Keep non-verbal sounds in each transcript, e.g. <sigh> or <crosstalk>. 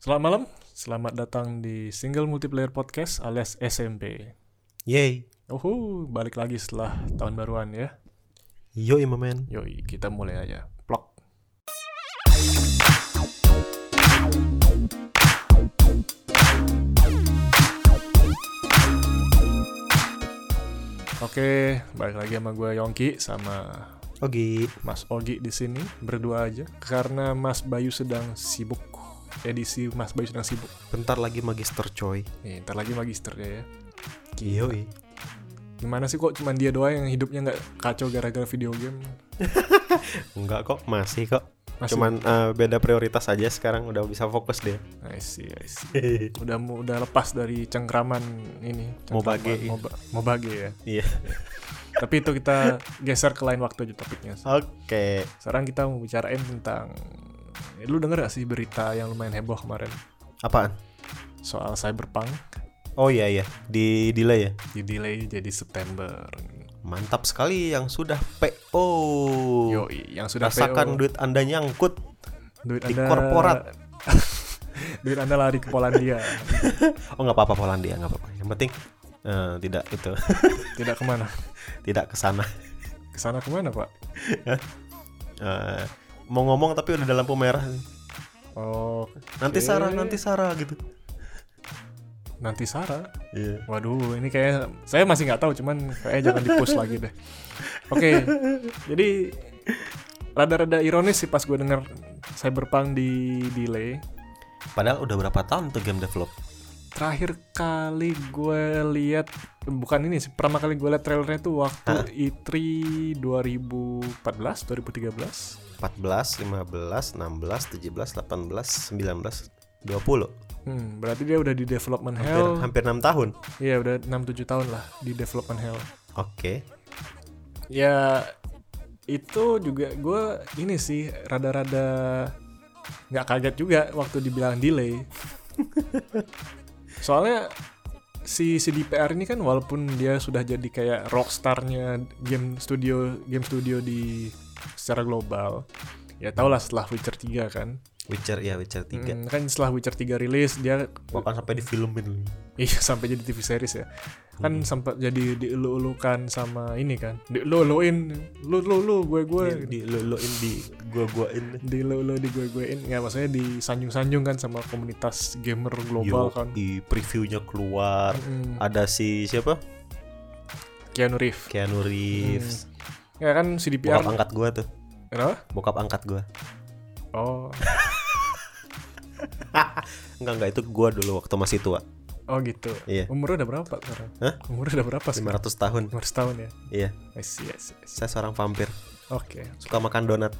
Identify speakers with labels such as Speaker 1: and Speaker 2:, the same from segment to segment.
Speaker 1: Selamat malam, selamat datang di Single Multiplayer Podcast alias SMP.
Speaker 2: Yay.
Speaker 1: Uhu, balik lagi setelah tahun baruan ya.
Speaker 2: Yo, my man.
Speaker 1: Yoi, kita mulai aja. Plok. Oke, balik lagi sama gue Yongki sama
Speaker 2: Ogi.
Speaker 1: Mas Ogi di sini berdua aja karena Mas Bayu sedang sibuk. Edisi Mas Bayu sedang sibuk.
Speaker 2: Bentar lagi magister coy.
Speaker 1: Nih, ntar lagi magister dia ya.
Speaker 2: Yo.
Speaker 1: Gimana sih kok cuman dia doang yang hidupnya nggak kacau gara-gara video game?
Speaker 2: Enggak kok, masih kok.
Speaker 1: Masih-
Speaker 2: Cuman eh, beda prioritas aja sekarang udah bisa fokus
Speaker 1: <laughs>
Speaker 2: deh.
Speaker 1: I see, I see. Udah mu- udah lepas dari cengkraman ini.
Speaker 2: Moba
Speaker 1: cengkraman
Speaker 2: G.
Speaker 1: Moba, moba G ya.
Speaker 2: Iya.
Speaker 1: Tapi itu kita geser ke lain waktu aja topiknya.
Speaker 2: Oke.
Speaker 1: Sekarang kita mau bicarain tentang eh, lu denger gak sih berita yang lumayan heboh kemarin
Speaker 2: Apaan?
Speaker 1: soal Cyberpunk
Speaker 2: Oh iya iya, di delay ya.
Speaker 1: di delay jadi September.
Speaker 2: Mantap sekali yang sudah PO.
Speaker 1: Yoi, yang sudah
Speaker 2: Uh, Rasakan
Speaker 1: PO,
Speaker 2: duit Anda nyangkut.
Speaker 1: duit
Speaker 2: di
Speaker 1: Anda-
Speaker 2: korporat.
Speaker 1: <laughs> duit Anda lari ke Polandia,
Speaker 2: Oh nggak apa-apa Polandia, nggak apa-apa. Yang penting eh, tidak itu, <laughs>
Speaker 1: tidak kemana?
Speaker 2: tidak ke sana.
Speaker 1: Kesana kemana Pak?
Speaker 2: Eh, mau ngomong tapi udah dalam lampu merah.
Speaker 1: Oh,
Speaker 2: Nanti
Speaker 1: Oke.
Speaker 2: Sarah, nanti Sarah gitu.
Speaker 1: nanti Sarah.
Speaker 2: Iya.
Speaker 1: Waduh, ini kayak saya masih nggak tahu, cuman kayak jangan di-push lagi deh. Oke, jadi rada-rada ironis sih pas gue denger Cyberpunk di delay.
Speaker 2: Padahal udah berapa tahun tuh game develop?
Speaker 1: Terakhir kali gue lihat bukan ini sih, pertama kali gue lihat trailernya tuh waktu E E3 2014, 2013.
Speaker 2: 14, 15, 16, 17, 18, 19, 20.
Speaker 1: Hmm, berarti dia udah di development
Speaker 2: Hampir,
Speaker 1: hell.
Speaker 2: hampir 6 tahun.
Speaker 1: Iya, udah 6-7 tahun lah di development hell.
Speaker 2: Oke.
Speaker 1: ya itu juga gue ini sih rada-rada nggak kaget juga waktu dibilang delay soalnya si si DPR ini kan walaupun dia sudah jadi kayak rockstarnya game studio game studio di secara global ya tau lah setelah Witcher 3 kan
Speaker 2: Witcher ya, Witcher 3.
Speaker 1: Hmm, kan setelah Witcher 3 rilis dia
Speaker 2: Bahkan sampai di filmin.
Speaker 1: Iya <laughs> sampai jadi TV series ya. Kan
Speaker 2: Hmm.
Speaker 1: sempat jadi dielu-elukan sama ini kan. Dielu-eluin lu lu lu gue gue
Speaker 2: Di loloin di gua-guain.
Speaker 1: di lu lu di gue guein nggak Ya, maksudnya disanjung-sanjung kan sama komunitas gamer global kan.
Speaker 2: di previewnya keluar.
Speaker 1: Mm,
Speaker 2: Ada si siapa?
Speaker 1: Keanu Reeves.
Speaker 2: Keanu Reeves.
Speaker 1: Ya kan si DPR.
Speaker 2: Bokap angkat gua tuh.
Speaker 1: Kenapa?
Speaker 2: Bokap angkat gua.
Speaker 1: Oh.
Speaker 2: Enggak enggak itu gua dulu waktu masih tua.
Speaker 1: Oh gitu.
Speaker 2: Iya.
Speaker 1: Umurnya udah berapa sekarang?
Speaker 2: Hah?
Speaker 1: Umurnya udah berapa sekarang?
Speaker 2: 500 tahun.
Speaker 1: 500 tahun ya.
Speaker 2: Iya.
Speaker 1: I see, I see, I see.
Speaker 2: Saya seorang vampir.
Speaker 1: Oke.
Speaker 2: <laughs> Suka makan donat.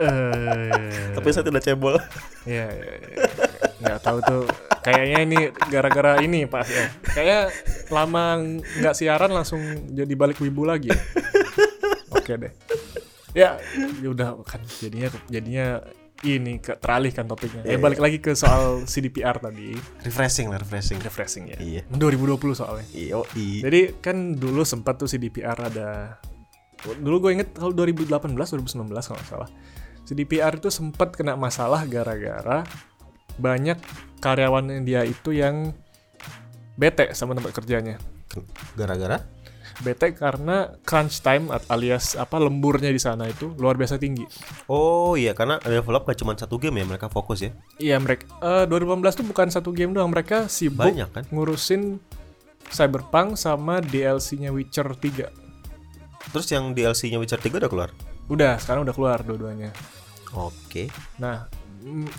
Speaker 1: Eh.
Speaker 2: Tapi saya tidak cebol. <laughs>
Speaker 1: Iya, iya, iya. nggak tahu tuh. Kayaknya ini gara-gara ini pas ya. Kayak lama nggak siaran langsung jadi balik wibu lagi. ya. Oke deh. Ya, ya udah kan jadinya jadinya ini ke, teralihkan topiknya. Eh
Speaker 2: Iya,
Speaker 1: balik lagi ke soal CDPR tadi,
Speaker 2: refreshing lah, refreshing.
Speaker 1: refreshing ya.
Speaker 2: Iya.
Speaker 1: 2020 soalnya.
Speaker 2: Iyo, i.
Speaker 1: Jadi kan dulu sempat tuh CDPR ada dulu gue inget kalau 2018 2019 kalau nggak salah CDPR itu sempat kena masalah gara-gara banyak karyawan dia itu yang bete sama tempat kerjanya
Speaker 2: Gara-gara?
Speaker 1: bete karena crunch time at- alias apa lemburnya di sana itu luar biasa tinggi
Speaker 2: Oh iya, karena develop gak cuma satu game ya, mereka fokus ya.
Speaker 1: iya mereka eh, 2018 tuh bukan satu game doang mereka sibuk
Speaker 2: Banyak kan?
Speaker 1: ngurusin Cyberpunk sama DLC-nya Witcher 3
Speaker 2: Terus yang DLC-nya Witcher 3 udah keluar?
Speaker 1: udah sekarang udah keluar dua-duanya
Speaker 2: Oke.
Speaker 1: Nah, mm,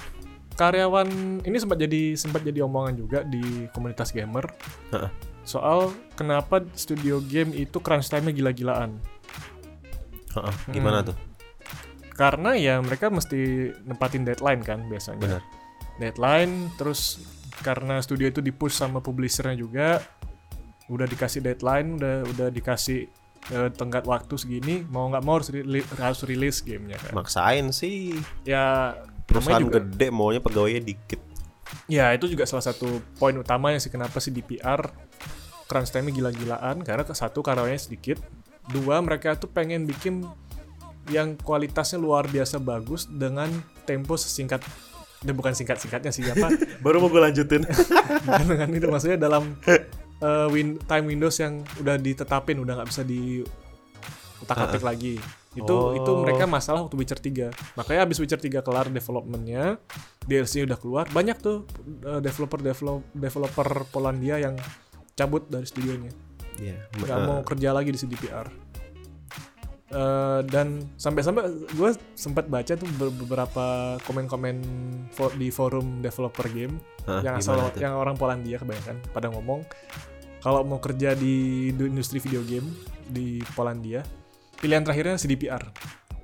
Speaker 1: karyawan ini sempat jadi sempat jadi omongan juga di komunitas gamer
Speaker 2: Heeh.
Speaker 1: soal kenapa studio game itu crunch time-nya gila-gilaan.
Speaker 2: Heeh. Gimana tuh?
Speaker 1: Karena ya mereka mesti nempatin deadline kan biasanya.
Speaker 2: Benar.
Speaker 1: Deadline terus karena studio itu dipush sama publishernya juga udah dikasih deadline, udah udah dikasih eh, tenggat waktu segini, mau nggak mau harus rilis, harus rilis gamenya kan.
Speaker 2: Maksain sih.
Speaker 1: Ya namanya
Speaker 2: Perusahaan
Speaker 1: juga
Speaker 2: gede maunya pegawainya dikit.
Speaker 1: Ya itu juga salah satu poin utamanya sih kenapa si DPR crunch time-nya gila-gilaan karena ke- satu karyawannya sedikit, dua mereka tuh pengen bikin yang kualitasnya luar biasa bagus dengan tempo sesingkat dan bukan singkat-singkatnya sih apa
Speaker 2: Baru mau gue lanjutin.
Speaker 1: dengan kan itu maksudnya dalam eh, win- time windows yang udah ditetapin udah nggak bisa di utak atik lagi itu itu
Speaker 2: Oh.
Speaker 1: mereka masalah waktu Witcher 3 makanya abis Witcher 3 kelar developmentnya DLC udah keluar banyak tuh eh, developer develop, developer Polandia yang cabut dari studionya
Speaker 2: <laughs> Iya.
Speaker 1: nggak mau kerja lagi di CDPR Eh, dan sampai-sampai gue sempat baca tuh be- beberapa komen-komen fo- di forum developer game
Speaker 2: Hah,
Speaker 1: yang asal
Speaker 2: gimana tuh?
Speaker 1: yang orang Polandia kebanyakan pada ngomong kalau mau kerja di du- industri video game di Polandia pilihan terakhirnya CDPR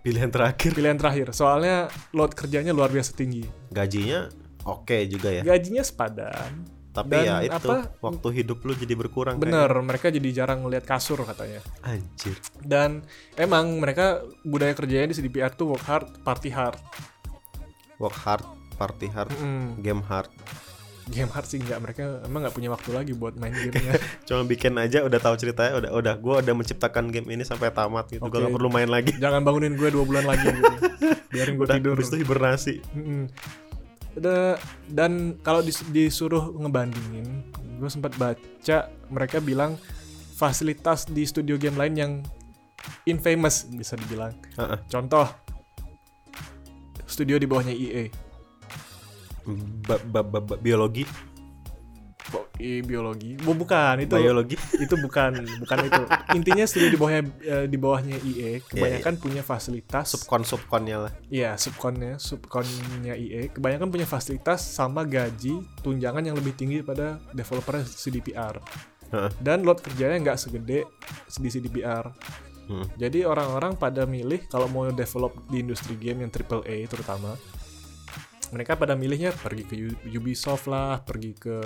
Speaker 2: Pilihan terakhir
Speaker 1: pilihan terakhir soalnya load kerjanya luar biasa tinggi
Speaker 2: gajinya oke juga ya.
Speaker 1: gajinya sepadan
Speaker 2: Tapi
Speaker 1: Iya, dan
Speaker 2: ya itu
Speaker 1: apa-
Speaker 2: waktu hidup lu jadi berkurang. kan?
Speaker 1: bener mereka jadi jarang ngelihat kasur katanya
Speaker 2: kayaknya. Anjir.
Speaker 1: dan emang mereka budaya kerjanya di CDPR tuh work hard party hard
Speaker 2: Work hard, party hard,
Speaker 1: Mm,
Speaker 2: game hard.
Speaker 1: game hard sih nggak mereka emang nggak punya waktu lagi buat main gamenya <laughs>
Speaker 2: Cuma bikin aja udah tahu ceritanya udah udah gue udah menciptakan game ini sampai tamat gitu.
Speaker 1: Oke.
Speaker 2: Gue gak perlu main lagi. <laughs>
Speaker 1: jangan bangunin gue dua bulan lagi gitu. biarin gue
Speaker 2: Udah
Speaker 1: tidur
Speaker 2: habis itu hibernasi.
Speaker 1: Mm-mm. Da- dan kalau dis- disuruh ngebandingin gue sempat baca mereka bilang fasilitas di studio game lain yang infamous bisa dibilang
Speaker 2: Heeh.
Speaker 1: contoh studio di bawahnya E EA
Speaker 2: Ba- ba- ba- ba- biologi,
Speaker 1: Bo- EA biologi Bu- bukan itu
Speaker 2: biologi.
Speaker 1: itu bukan bukan itu intinya studio di bawahnya eh, di bawahnya EA kebanyakan punya fasilitas
Speaker 2: subkon subkonnya lah.
Speaker 1: Iya, subkonnya, subkonnya IE kebanyakan punya fasilitas sama gaji tunjangan yang lebih tinggi pada developer CDPR.
Speaker 2: Heeh.
Speaker 1: Dan load kerjanya nggak segede di CDPR.
Speaker 2: Hmm.
Speaker 1: Jadi orang-orang pada milih kalau mau develop di industri game yang AAA terutama, mereka pada milihnya pergi ke U- Ubisoft lah, pergi ke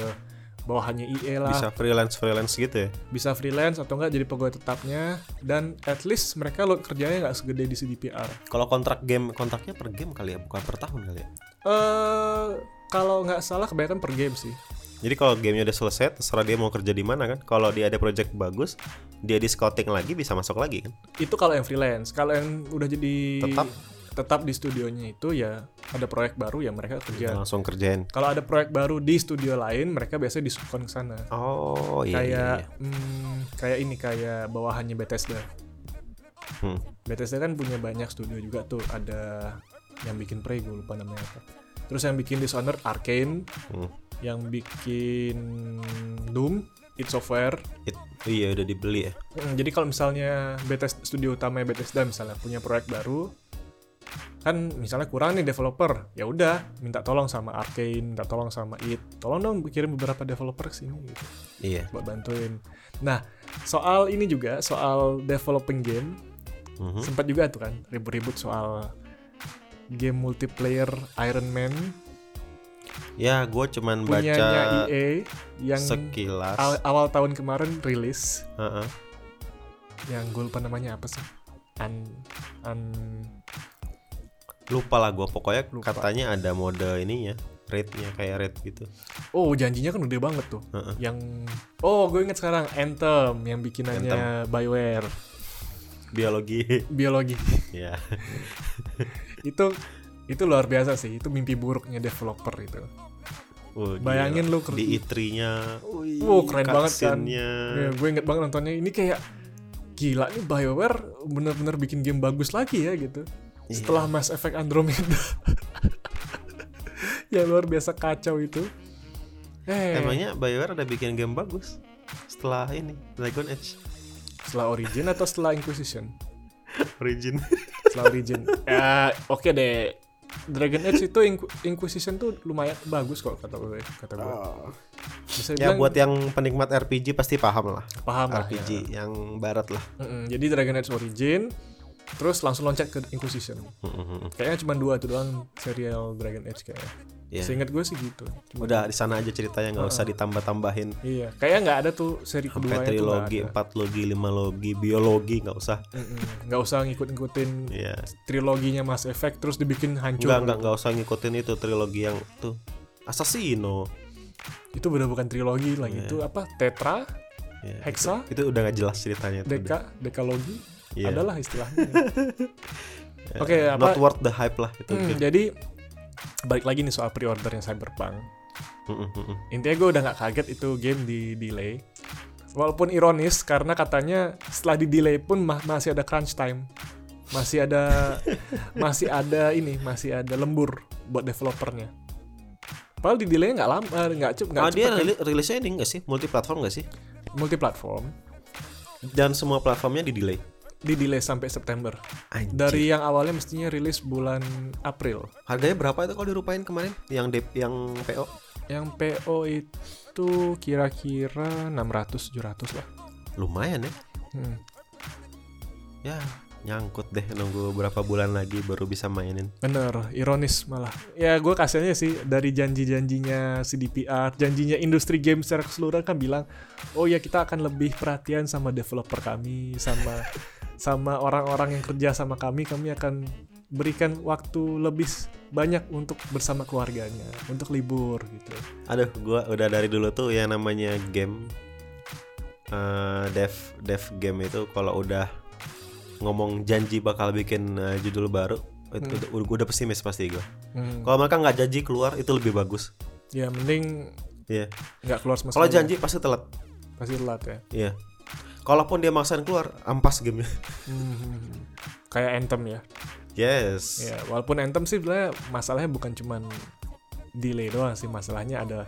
Speaker 1: bawahannya IE lah,
Speaker 2: Bisa freelance freelance gitu ya.
Speaker 1: bisa freelance atau nggak jadi pegawai tetapnya dan at least mereka load kerjanya nggak segede di CDPR.
Speaker 2: Kalau kontrak game kontraknya per game kali ya, bukan per tahun kali ya.
Speaker 1: eh kalau nggak salah kebanyakan per game sih.
Speaker 2: Jadi kalau gamenya udah selesai, terserah dia mau kerja di mana kan. Kalau dia ada project bagus, dia di scouting lagi bisa masuk lagi kan.
Speaker 1: Itu kalau yang freelance. Kalau yang udah jadi
Speaker 2: Tetap?
Speaker 1: tetap di studionya itu ya ada proyek baru ya mereka kerja.
Speaker 2: Langsung kerjain.
Speaker 1: Kalau ada proyek baru di studio lain mereka biasanya disubkon ke sana.
Speaker 2: Oh iya. iya,
Speaker 1: kayak
Speaker 2: iya.
Speaker 1: hmm, kayak ini kayak bawahannya Bethesda.
Speaker 2: Hmm.
Speaker 1: Bethesda kan punya banyak studio juga tuh. Ada yang bikin Prey gue lupa namanya apa. Terus yang bikin Dishonored Arcane,
Speaker 2: Hmm.
Speaker 1: yang bikin Doom, It Software,
Speaker 2: It- iya udah dibeli ya.
Speaker 1: Mm, jadi kalau misalnya Bethesda studio utama Bethesda misalnya punya proyek baru kan misalnya kurang nih developer ya udah minta tolong sama Arkane minta tolong sama It tolong dong kirim beberapa developer ke sini gitu
Speaker 2: Iya.
Speaker 1: buat bantuin nah soal ini juga soal developing game
Speaker 2: Mhm.
Speaker 1: sempat juga tuh kan ribut-ribut soal game multiplayer Iron Man
Speaker 2: Ya gue cuman
Speaker 1: punyanya
Speaker 2: baca
Speaker 1: EA yang
Speaker 2: sekilas.
Speaker 1: aw- awal tahun kemarin rilis
Speaker 2: Heeh.
Speaker 1: yang gue lupa namanya apa sih an an
Speaker 2: Lupa lah gue pokoknya
Speaker 1: Lupa.
Speaker 2: katanya ada mode ininya, rate-nya kayak rate gitu.
Speaker 1: oh janjinya kan gede banget tuh
Speaker 2: Heeh.
Speaker 1: yang oh gue inget sekarang Anthem yang bikinannya Bioware
Speaker 2: Biologi. <laughs>
Speaker 1: biologi <laughs>
Speaker 2: ya.
Speaker 1: itu itu luar biasa sih itu mimpi buruknya developer itu
Speaker 2: Oh, gila.
Speaker 1: Bayangin lu ker-
Speaker 2: di itrinya.
Speaker 1: Wow, keren banget kan.
Speaker 2: cutscene-nya.
Speaker 1: Ya, gue inget banget nontonnya ini kayak gila nih Bioware bener-bener bikin game bagus lagi ya gitu
Speaker 2: Iya.
Speaker 1: setelah Mass Effect Andromeda <laughs> ya luar biasa kacau itu eh
Speaker 2: Emangnya Bioware ada bikin game bagus setelah ini Dragon Age <laughs>
Speaker 1: setelah Origin atau setelah Inquisition
Speaker 2: Origin.
Speaker 1: setelah Origin. ya, oke deh. Dragon Age itu Inqu- Inquisition tuh lumayan bagus kok kata gue, kata gue. Bisa
Speaker 2: Oh, ya
Speaker 1: dibilang
Speaker 2: buat yang penikmat RPG pasti paham lah.
Speaker 1: paham lah, ya.
Speaker 2: RPG yang barat lah.
Speaker 1: Mm-mm, Jadi Dragon Age Origin terus langsung loncat ke Inquisition. Kayaknya cuma dua itu doang serial Dragon Age kayaknya.
Speaker 2: Iya.
Speaker 1: Seingat gue sih gitu. Cuma-
Speaker 2: Udah di sana aja ceritanya nggak usah ditambah-tambahin.
Speaker 1: Iya, kayaknya nggak ada tuh seri keduanya tuh
Speaker 2: Sampai
Speaker 1: nggak
Speaker 2: trilogi,
Speaker 1: ada.
Speaker 2: empat logi, lima logi, biologi nggak usah.
Speaker 1: Mm-mm, Nggak usah ngikut-ngikutin
Speaker 2: Iya.
Speaker 1: triloginya Mass Effect terus dibikin hancur.
Speaker 2: Enggak, enggak, enggak usah ngikutin itu trilogi yang tuh Assassino.
Speaker 1: Itu udah bukan trilogi
Speaker 2: Iya.
Speaker 1: lagi itu apa? Tetra,
Speaker 2: Ya,
Speaker 1: Hexa,
Speaker 2: Itu udah nggak jelas ceritanya itu. udah.
Speaker 1: Deka, dekalogi
Speaker 2: <laughs> Iya. Eh,
Speaker 1: adalah istilahnya. Oke, apa-
Speaker 2: Ya. Not worth the hype lah itu. Gitu.
Speaker 1: Hmm, jadi balik lagi nih soal pre-ordernya Cyberpunk.
Speaker 2: Mm, mm, mm.
Speaker 1: Intinya gue udah nggak kaget itu game di delay. Walaupun ironis karena katanya setelah di delay pun ma- masih ada crunch time, masih ada
Speaker 2: <laughs>
Speaker 1: masih ada ini masih ada lembur buat developernya. Padahal di delay nggak lama eh, nggak cep nggak
Speaker 2: Ah, dia
Speaker 1: cepet kan.
Speaker 2: rili- rilisnya ini nggak sih? Multi platform nggak sih?
Speaker 1: multiplatform
Speaker 2: Dan semua platformnya di delay.
Speaker 1: di delay sampai September.
Speaker 2: Anjir.
Speaker 1: Dari yang awalnya mestinya rilis bulan April.
Speaker 2: Harganya berapa itu kalau dirupain kemarin? Yang dep yang PO?
Speaker 1: Yang PO itu kira-kira 600 700 lah.
Speaker 2: Lumayan ya.
Speaker 1: Hmm.
Speaker 2: Ya, nyangkut deh nunggu berapa bulan lagi baru bisa mainin.
Speaker 1: Bener, ironis malah. Ya gue kasihannya sih dari janji-janjinya CDPR, janjinya industri game secara keseluruhan kan bilang, oh ya kita akan lebih perhatian sama developer kami, sama sama orang-orang yang kerja sama kami, kami akan berikan waktu lebih banyak untuk bersama keluarganya, untuk libur gitu.
Speaker 2: Aduh, gua udah dari dulu tuh yang namanya game eh, dev dev game itu kalau udah ngomong janji bakal bikin eh, judul baru, itu udah- udah, udah pesimis pasti gua.
Speaker 1: Hmm.
Speaker 2: Kalau mereka nggak janji keluar itu lebih bagus.
Speaker 1: Ya mending
Speaker 2: Iya.
Speaker 1: nggak keluar sama
Speaker 2: Kalau
Speaker 1: sekali.
Speaker 2: janji pasti telat.
Speaker 1: pasti telat ya.
Speaker 2: Iya. Kalaupun dia maksain keluar, ampas gamenya. <laughs>
Speaker 1: Hmm. Kayak Anthem ya.
Speaker 2: Yes.
Speaker 1: Ya, walaupun Anthem sih sebenarnya masalahnya bukan cuman delay doang sih, masalahnya ada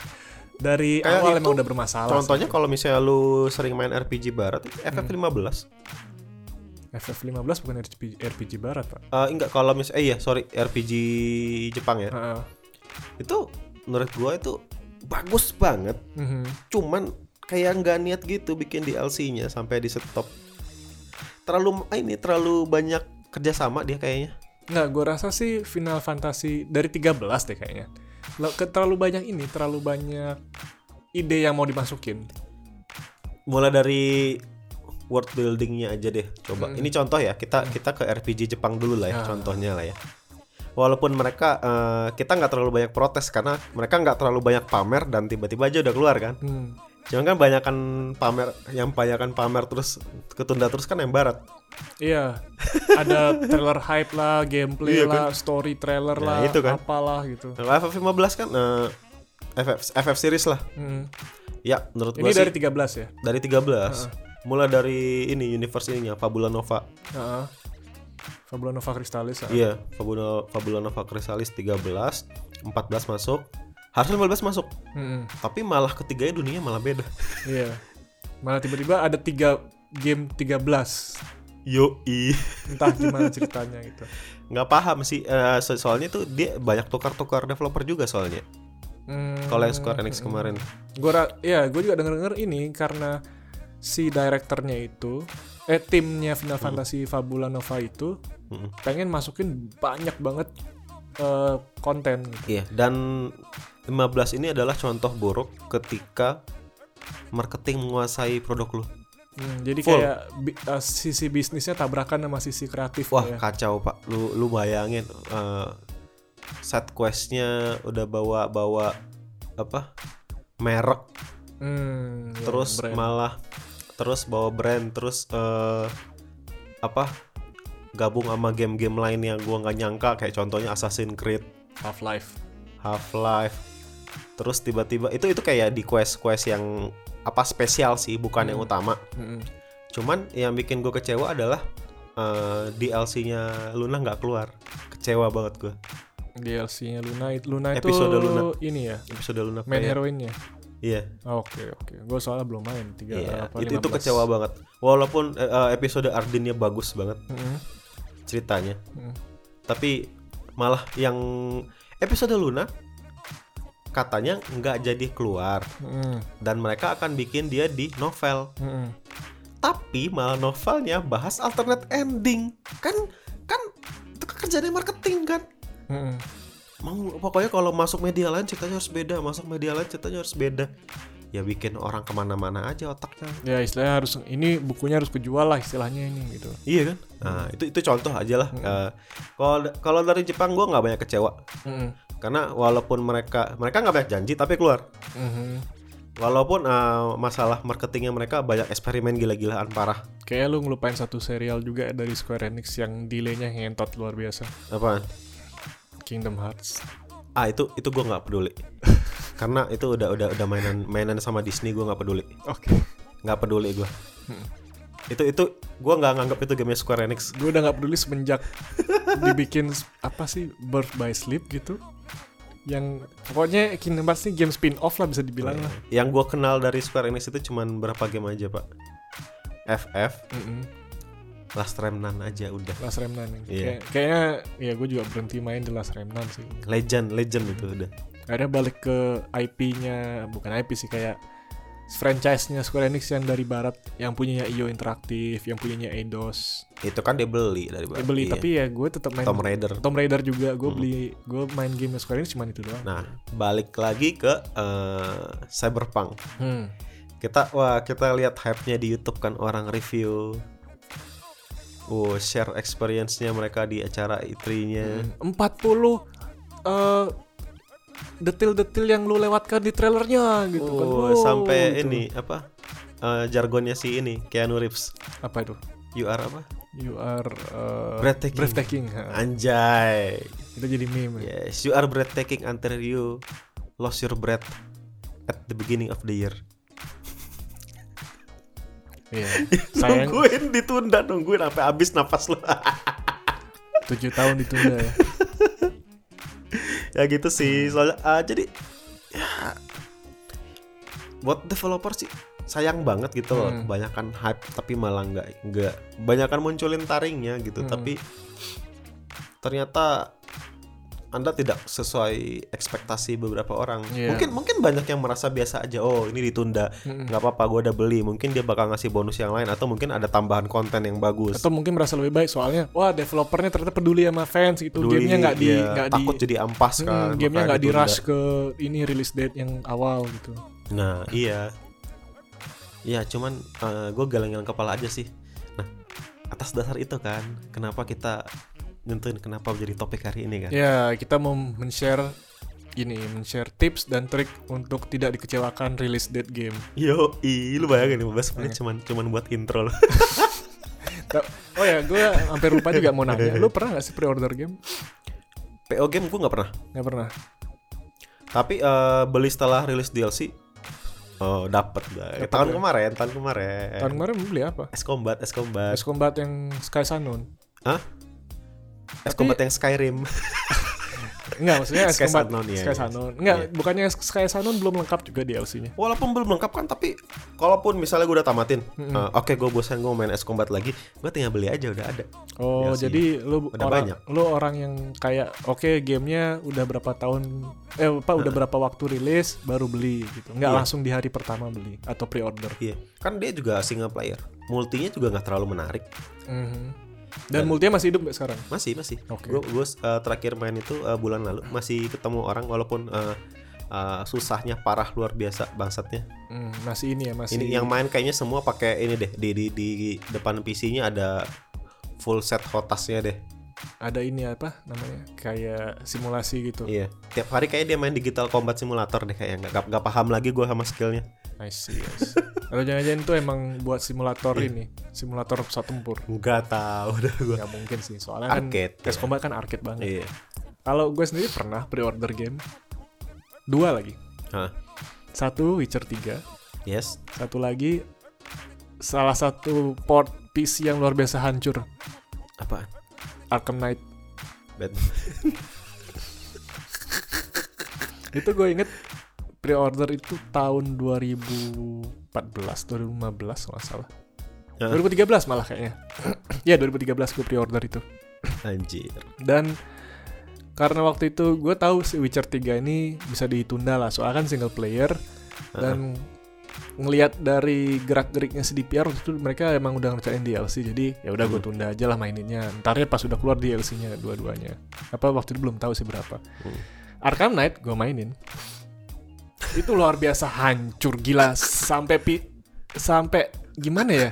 Speaker 1: dari
Speaker 2: Kayak
Speaker 1: awal
Speaker 2: itu,
Speaker 1: emang udah bermasalah.
Speaker 2: Contohnya kalau misalnya lu sering main RPG barat, FF15.
Speaker 1: sih. FF15 bukan RPG, RPG barat, Pak.
Speaker 2: Eh, enggak kalau misalnya eh iya, sorry, RPG Jepang ya.
Speaker 1: Heeh.
Speaker 2: Itu menurut gua itu bagus banget,
Speaker 1: Mhm.
Speaker 2: cuman kayak nggak niat gitu bikin DLC-nya sampai di stop. Terlalu ah, ini terlalu banyak kerjasama dia kayaknya.
Speaker 1: Nggak, gue rasa sih Final Fantasy dari 13 deh kayaknya. Lo- ke- Terlalu banyak ini, terlalu banyak ide yang mau dimasukin.
Speaker 2: Mulai dari world building-nya aja deh coba.
Speaker 1: Hmm.
Speaker 2: Ini contoh ya, kita kita ke RPG Jepang dulu lah
Speaker 1: Ah.
Speaker 2: ya, contohnya lah ya. Walaupun mereka eh, kita nggak terlalu banyak protes karena mereka nggak terlalu banyak pamer dan tiba-tiba aja udah keluar kan.
Speaker 1: Hmm.
Speaker 2: Jangan kan banyakan pamer yang banyakan pamer terus ketunda terus kan yang barat.
Speaker 1: Iya, ada trailer hype lah, gameplay
Speaker 2: Iya
Speaker 1: lah, story trailer
Speaker 2: Nah,
Speaker 1: lah,
Speaker 2: itu kan.
Speaker 1: apalah gitu.
Speaker 2: Kalau FF15 kan eh, FF FF series lah.
Speaker 1: Hmm.
Speaker 2: Ya, menurut
Speaker 1: Ini
Speaker 2: gue
Speaker 1: dari
Speaker 2: dari
Speaker 1: 13 ya?
Speaker 2: dari 13. Mulai dari ini universe ininya Fabula Nova.
Speaker 1: Heeh. Fabula Nova Crystallis. ah.
Speaker 2: Iya, Fabula Fabula Nova Chrysalis 13, 14 masuk. Harusnya 15 masuk,
Speaker 1: Mm-mm.
Speaker 2: tapi malah ketiganya dunia malah beda. <laughs>
Speaker 1: Iya. Malah tiba-tiba ada tiga game 13.
Speaker 2: Yoi.
Speaker 1: Entah gimana ceritanya gitu.
Speaker 2: nggak paham sih eh, so- soalnya tuh dia banyak tukar-tukar developer juga soalnya. Kalau yang Square Enix kemarin.
Speaker 1: Gue ya, gue juga denger-denger ini karena si direkturnya itu eh timnya Final Fantasy Fabula Nova itu
Speaker 2: Mm-mm.
Speaker 1: pengen masukin banyak banget eh, konten gitu.
Speaker 2: Iya, dan 15 ini adalah contoh buruk ketika marketing menguasai produk lu.
Speaker 1: Hmm, jadi
Speaker 2: Full.
Speaker 1: kayak bi- eh, sisi bisnisnya tabrakan sama sisi kreatif
Speaker 2: Wah,
Speaker 1: ya.
Speaker 2: kacau, Pak. Lu lu bayangin eh, set questnya udah bawa-bawa apa? merek
Speaker 1: Hmm, ya,
Speaker 2: terus
Speaker 1: brand.
Speaker 2: malah terus bawa brand terus eh, apa? gabung sama game-game lain yang gua nggak nyangka kayak contohnya Assassin's Creed
Speaker 1: Half-Life.
Speaker 2: Half Life. Terus tiba-tiba itu itu kayak di quest-quest yang apa spesial sih, bukan yang utama.
Speaker 1: Mm-mm.
Speaker 2: Cuman yang bikin gue kecewa adalah eh, DLC-nya Luna nggak keluar. Kecewa banget gue.
Speaker 1: DLC-nya Luna, it- Luna itu
Speaker 2: Episode Luna.
Speaker 1: ini ya,
Speaker 2: Episode Luna
Speaker 1: main
Speaker 2: player.
Speaker 1: heroinnya.
Speaker 2: Iya.
Speaker 1: Oke oke, gue soalnya belum main tiga
Speaker 2: Iya,
Speaker 1: apa,
Speaker 2: itu, itu
Speaker 1: 15.
Speaker 2: kecewa banget. Walaupun eh, eh, episode Ardinnya bagus banget
Speaker 1: Mm-mm,
Speaker 2: ceritanya,
Speaker 1: mm-mm.
Speaker 2: tapi malah yang episode Luna katanya nggak jadi keluar
Speaker 1: Mm-mm,
Speaker 2: dan mereka akan bikin dia di novel.
Speaker 1: mm-mm.
Speaker 2: tapi malah novelnya bahas alternate ending kan kan itu kan kerjanya marketing kan
Speaker 1: Mm-mm.
Speaker 2: mau pokoknya kalau masuk media lain ceritanya harus beda masuk media lain ceritanya harus beda ya bikin orang kemana-mana aja otaknya
Speaker 1: Ya istilahnya harus ini bukunya harus kejual lah istilahnya ini gitu.
Speaker 2: iya kan nah itu itu contoh aja lah Eh, kalau kalau dari Jepang gua nggak banyak kecewa
Speaker 1: Mm-mm,
Speaker 2: karena walaupun mereka mereka nggak banyak janji tapi keluar
Speaker 1: mhm.
Speaker 2: Walaupun eh, masalah marketingnya mereka banyak eksperimen gila-gilaan parah.
Speaker 1: Kayaknya lu ngelupain satu serial juga dari Square Enix yang delaynya ngentot luar biasa.
Speaker 2: Apa?
Speaker 1: Kingdom Hearts.
Speaker 2: Ah itu itu gue nggak peduli. Karena itu udah udah udah mainan mainan sama Disney gue nggak peduli.
Speaker 1: Oke.
Speaker 2: Nggak peduli gue. Itu itu gue nggak nganggap itu game Square Enix.
Speaker 1: Gue udah nggak peduli semenjak dibikin s- apa sih Birth by Sleep gitu. Yang pokoknya Kingdom Hearts ini game spin-off lah bisa dibilang lah.
Speaker 2: Yang gue kenal dari Square Enix itu cuman berapa game aja pak. FF,
Speaker 1: Mm-mm.
Speaker 2: Last Remnant aja udah.
Speaker 1: Last Remnant. ini.
Speaker 2: Iya.
Speaker 1: Kayak- kayaknya ya gue juga berhenti main di Last Remnant sih.
Speaker 2: Legend, legend itu udah.
Speaker 1: Akhirnya balik ke IP-nya, bukan IP sih kayak franchise-nya Square Enix yang dari barat yang punyanya IO Interactive, yang punyanya Eidos.
Speaker 2: Itu kan dibeli dari
Speaker 1: Gue beli
Speaker 2: iya.
Speaker 1: tapi ya gue tetap main
Speaker 2: Tomb Raider. Hmm.
Speaker 1: Tomb Raider juga gue beli gue main game Square Enix cuman itu doang.
Speaker 2: Nah, balik lagi ke eh, Cyberpunk.
Speaker 1: Hmm.
Speaker 2: Kita wah kita lihat hype-nya di YouTube kan orang review. Oh, share experience-nya mereka di acara E E3-nya.
Speaker 1: 40 eh, detil-detil yang lu lewatkan di trailernya gitu kan.
Speaker 2: Oh,
Speaker 1: Wow,
Speaker 2: sampai
Speaker 1: gitu.
Speaker 2: ini apa? Eh, jargonnya si ini Keanu Reeves.
Speaker 1: apa itu?
Speaker 2: You are apa?
Speaker 1: You are eh,
Speaker 2: Breathtaking.
Speaker 1: ha.
Speaker 2: Anjay.
Speaker 1: Itu jadi meme.
Speaker 2: Yes, you are breathtaking until you lost your breath at the beginning of the year.
Speaker 1: Iya. <laughs> Sayang
Speaker 2: Nungguin ditunda, nungguin sampai habis napas lu. <laughs>
Speaker 1: 7 tahun ditunda ya.
Speaker 2: ya gitu sih soalnya ah, jadi ya, buat developer sih sayang banget gitu loh
Speaker 1: Hmm.
Speaker 2: kebanyakan hype tapi malah nggak nggak kebanyakan munculin taringnya gitu
Speaker 1: Hmm.
Speaker 2: tapi ternyata anda tidak sesuai ekspektasi beberapa orang
Speaker 1: Iya. Hmm.
Speaker 2: mungkin mungkin banyak yang merasa biasa aja oh ini ditunda
Speaker 1: Mm-mm.
Speaker 2: nggak apa-apa gue udah beli mungkin dia bakal ngasih bonus yang lain atau mungkin ada tambahan konten yang bagus
Speaker 1: Atau mungkin merasa lebih baik soalnya wah developernya ternyata peduli sama fans gitu.
Speaker 2: Peduli,
Speaker 1: Gamenya nggak di
Speaker 2: iya,
Speaker 1: nggak di
Speaker 2: takut jadi ampas
Speaker 1: Mm,
Speaker 2: kan
Speaker 1: gamenya
Speaker 2: makanya
Speaker 1: nggak di
Speaker 2: ditunda.
Speaker 1: rush ke ini release date yang awal gitu.
Speaker 2: Nah iya Iya cuman gue geleng-geleng kepala aja sih Nah atas dasar itu kan Kenapa kita nyentuhin kenapa menjadi topik hari ini kan
Speaker 1: Ya, kita mau men-share ini, men-share tips dan trik untuk tidak dikecewakan rilis date game.
Speaker 2: Yo lu bayangin 15 menit
Speaker 1: Iya.
Speaker 2: cuman, cuman buat intro loh <laughs>
Speaker 1: Ta- Oh ya, gue hampir lupa juga mau
Speaker 2: <laughs>
Speaker 1: nanya. Lu pernah gak sih pre-order game?
Speaker 2: PO game gue gak pernah
Speaker 1: Gak pernah.
Speaker 2: Tapi eh, beli setelah rilis DLC Oh dapet dah
Speaker 1: Dapet
Speaker 2: Tahun
Speaker 1: ya?
Speaker 2: kemarin Tahun kemarin
Speaker 1: Tahun kemarin lu beli apa?
Speaker 2: S Combat S Combat
Speaker 1: Ace Combat yang Sky Sanun.
Speaker 2: Hah? S Combat yang Skyrim
Speaker 1: Enggak, maksudnya Ace
Speaker 2: Sky
Speaker 1: Combat
Speaker 2: Sanun, iya,
Speaker 1: Sky
Speaker 2: iya.
Speaker 1: Sanun. Enggak,
Speaker 2: Iya.
Speaker 1: bukannya Sky Sanun belum lengkap juga DLC-nya.
Speaker 2: walaupun belum lengkap kan tapi kalaupun misalnya gue udah tamatin eh, oke gue bosan gue main S Combat lagi gue tinggal beli aja udah ada
Speaker 1: Oh,
Speaker 2: DLC-nya.
Speaker 1: jadi lu
Speaker 2: Udah
Speaker 1: orang,
Speaker 2: banyak.
Speaker 1: lu orang yang kayak oke gamenya udah berapa tahun eh apa udah berapa waktu rilis baru beli gitu. Enggak
Speaker 2: Iya.
Speaker 1: langsung di hari pertama beli atau pre-order.
Speaker 2: iya kan dia juga single player multinya juga nggak terlalu menarik
Speaker 1: Mhm. Dan, multinya masih hidup nggak sekarang?
Speaker 2: masih masih
Speaker 1: Oke.
Speaker 2: gue terakhir main itu eh, bulan lalu masih ketemu orang walaupun eh, eh, susahnya parah luar biasa bangsatnya
Speaker 1: Hmm, masih ini ya masih.
Speaker 2: Mhm. ini yang main kayaknya semua pakai ini deh di di, di depan PC-nya ada full set hotasnya deh
Speaker 1: ada ini apa namanya kayak simulasi gitu.
Speaker 2: iya tiap hari kayaknya dia main digital combat simulator deh kayaknya nggak nggak paham lagi gue sama skillnya
Speaker 1: I see. I see. Atau jangan-jangan itu emang buat simulator
Speaker 2: Iya.
Speaker 1: ini, simulator pesawat tempur.
Speaker 2: nggak tahu dah gue
Speaker 1: Nggak mungkin sih, soalnya kan
Speaker 2: Arcade,
Speaker 1: Ace
Speaker 2: ya.
Speaker 1: Combat kan arcade banget.
Speaker 2: Iya.
Speaker 1: Kalau gue sendiri pernah pre-order game dua lagi.
Speaker 2: Hah.
Speaker 1: Satu Witcher 3,
Speaker 2: Yes.
Speaker 1: satu lagi salah satu port PC yang luar biasa hancur,
Speaker 2: Apaan?
Speaker 1: Arkham Knight.
Speaker 2: Bad. <laughs>
Speaker 1: itu gue inget pre-order itu tahun 2014 2015 kalau nggak salah
Speaker 2: Heeh.
Speaker 1: 2013 malah kayaknya <clears throat> ya 2013 gue pre-order itu
Speaker 2: Anjir.
Speaker 1: dan karena waktu itu gue tahu si Witcher 3 ini bisa ditunda lah soalnya kan single player dan ngelihat dari gerak-geriknya si DPR waktu itu mereka emang udah ngerjain DLC jadi ya udah gue tunda aja lah maininnya ntar ya pas udah keluar DLC-nya dua-duanya apa waktu itu belum tahu sih berapa
Speaker 2: Hmm.
Speaker 1: Arkham Knight gue mainin itu luar biasa hancur gila sampai pi sampai gimana ya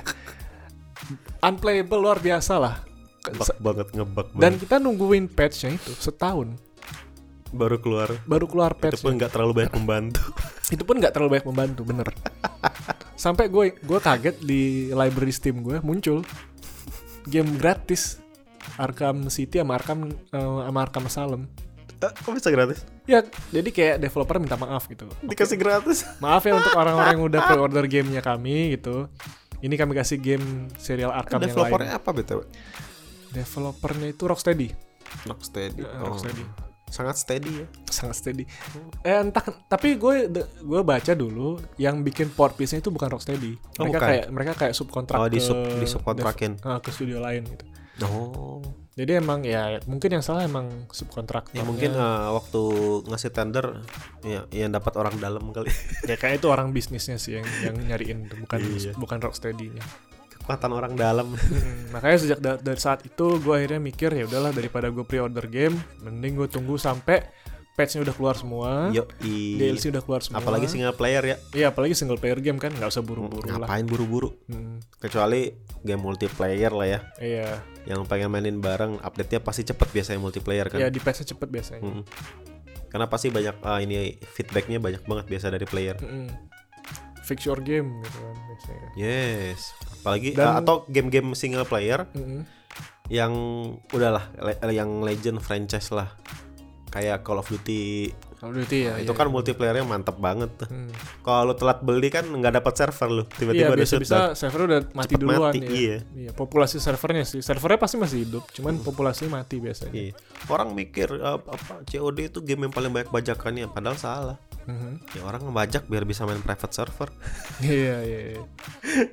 Speaker 1: unplayable luar biasa lah
Speaker 2: Ngebak banget ngebak
Speaker 1: dan
Speaker 2: banget.
Speaker 1: kita nungguin patchnya itu setahun
Speaker 2: baru keluar.
Speaker 1: baru keluar
Speaker 2: Itu
Speaker 1: patch
Speaker 2: pun nggak terlalu banyak membantu.
Speaker 1: itu pun nggak terlalu banyak membantu bener sampai gue gue kaget di library steam gue muncul game gratis Arkham City sama Arkham eh, sama Arkham Asylum
Speaker 2: <laughs> Eh, Kok bisa gratis?
Speaker 1: ya jadi kayak developer minta maaf gitu
Speaker 2: Dikasih gratis.
Speaker 1: maaf ya untuk orang-orang yang udah pre-order gamenya kami gitu ini kami kasih game serial Arkham yang lain
Speaker 2: Developernya apa btw?
Speaker 1: developernya itu Rocksteady
Speaker 2: Rocksteady.
Speaker 1: Eh,
Speaker 2: Oh.
Speaker 1: Rocksteady
Speaker 2: Sangat steady ya.
Speaker 1: sangat steady. Eh entah tapi gue de- gue baca dulu yang bikin port piece-nya itu bukan Rocksteady. Mereka
Speaker 2: Oh, bukan.
Speaker 1: kayak mereka kayak subkontrak
Speaker 2: Oh, di
Speaker 1: ke
Speaker 2: sub- di subkontrakin.
Speaker 1: dev- eh, ke studio lain gitu.
Speaker 2: Oh.
Speaker 1: Jadi emang ya mungkin yang salah emang subkontrak.
Speaker 2: Ya mungkin eh, waktu ngasih tender ya yang dapat orang dalam kali. <laughs>
Speaker 1: ya kayak itu orang bisnisnya sih yang yang nyariin tuh, bukan
Speaker 2: ah. Iya.
Speaker 1: bukan Rocksteady-nya.
Speaker 2: Kekuatan orang dalam.
Speaker 1: Hmm, makanya sejak da- dari saat itu gue akhirnya mikir ya udahlah daripada gue pre-order game mending gue tunggu sampai patch-nya udah keluar semua.
Speaker 2: Yo,
Speaker 1: DLC udah keluar semua.
Speaker 2: apalagi single player ya.
Speaker 1: Iya, apalagi single player game kan nggak usah buru-buru lah.
Speaker 2: Ngapain buru-buru?
Speaker 1: Hmm,
Speaker 2: Kecuali game multiplayer lah ya.
Speaker 1: iya.
Speaker 2: Yang pengen mainin bareng, update-nya pasti cepet biasanya multiplayer kan. Hmm.
Speaker 1: Ya di patch cepet biasanya.
Speaker 2: Mm-mm. Karena pasti banyak ah, ini feedbacknya banyak banget biasa dari player.
Speaker 1: Mm-mm. Fix your game gitu kan biasanya.
Speaker 2: Yes, apalagi
Speaker 1: Dan-
Speaker 2: ah, atau game-game single player
Speaker 1: Mm-mm.
Speaker 2: yang udahlah le- yang legend franchise lah. Kayak Call of Duty
Speaker 1: Call of Duty ya.
Speaker 2: itu
Speaker 1: iya.
Speaker 2: kan multiplayernya mantep banget. tuh.
Speaker 1: Hmm.
Speaker 2: Kalau lu telat beli kan nggak dapat server lu,
Speaker 1: Iya
Speaker 2: tiba-tiba ada
Speaker 1: biasa bisa
Speaker 2: shutdown.
Speaker 1: server udah mati
Speaker 2: Cepet
Speaker 1: duluan
Speaker 2: mati,
Speaker 1: ya.
Speaker 2: iya. Hmm.
Speaker 1: populasi servernya sih. Servernya pasti masih hidup, cuman populasinya mati biasanya.
Speaker 2: Iya. Orang mikir apa, apa COD itu game yang paling banyak bajakannya, padahal salah.
Speaker 1: Mhm.
Speaker 2: Ya orang ngebajak biar bisa main private server.
Speaker 1: Iya iya. iya.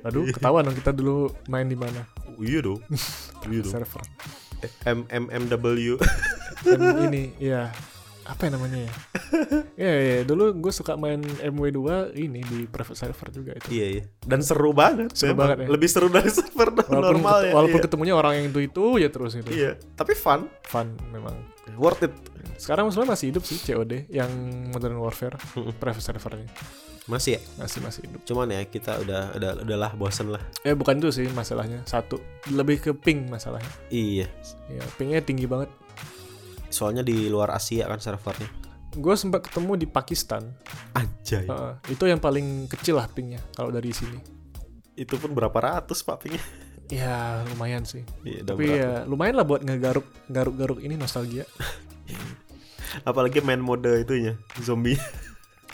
Speaker 1: Aduh, ketahuan dong kita dulu main di mana
Speaker 2: Oh, iya <laughs> dong. iya dong.
Speaker 1: server.
Speaker 2: MMMW.
Speaker 1: Dan ini iya apa yang namanya ya? Iya iya, dulu gue suka main MW2 ini di private server juga itu.
Speaker 2: <laughs> iya iya. Dan seru banget.
Speaker 1: Seru
Speaker 2: memang.
Speaker 1: banget, ya.
Speaker 2: Lebih seru dari <laughs> server
Speaker 1: Walaupun,
Speaker 2: normal ya.
Speaker 1: walaupun
Speaker 2: iya.
Speaker 1: ketemunya orang yang itu itu ya terus itu.
Speaker 2: Iya. Tapi fun.
Speaker 1: Fun memang.
Speaker 2: Worth it.
Speaker 1: Sekarang sebenarnya masih hidup sih COD yang Modern Warfare private servernya
Speaker 2: Masih ya.
Speaker 1: masih masih hidup.
Speaker 2: Cuman ya kita udah udah udahlah bosen lah.
Speaker 1: Eh bukan itu sih masalahnya satu lebih ke ping masalahnya.
Speaker 2: Iya.
Speaker 1: Ya pingnya tinggi banget.
Speaker 2: Soalnya di luar Asia kan servernya.
Speaker 1: Gue sempat ketemu di Pakistan.
Speaker 2: Anjay.
Speaker 1: Heeh, itu yang paling kecil lah pingnya kalau dari sini.
Speaker 2: Itu pun berapa ratus pak pingnya.
Speaker 1: Ya lumayan sih.
Speaker 2: Iya, udah
Speaker 1: Tapi
Speaker 2: berat.
Speaker 1: ya lumayan lah buat ngegaruk garuk garuk ini nostalgia.
Speaker 2: Apalagi main mode itunya zombie.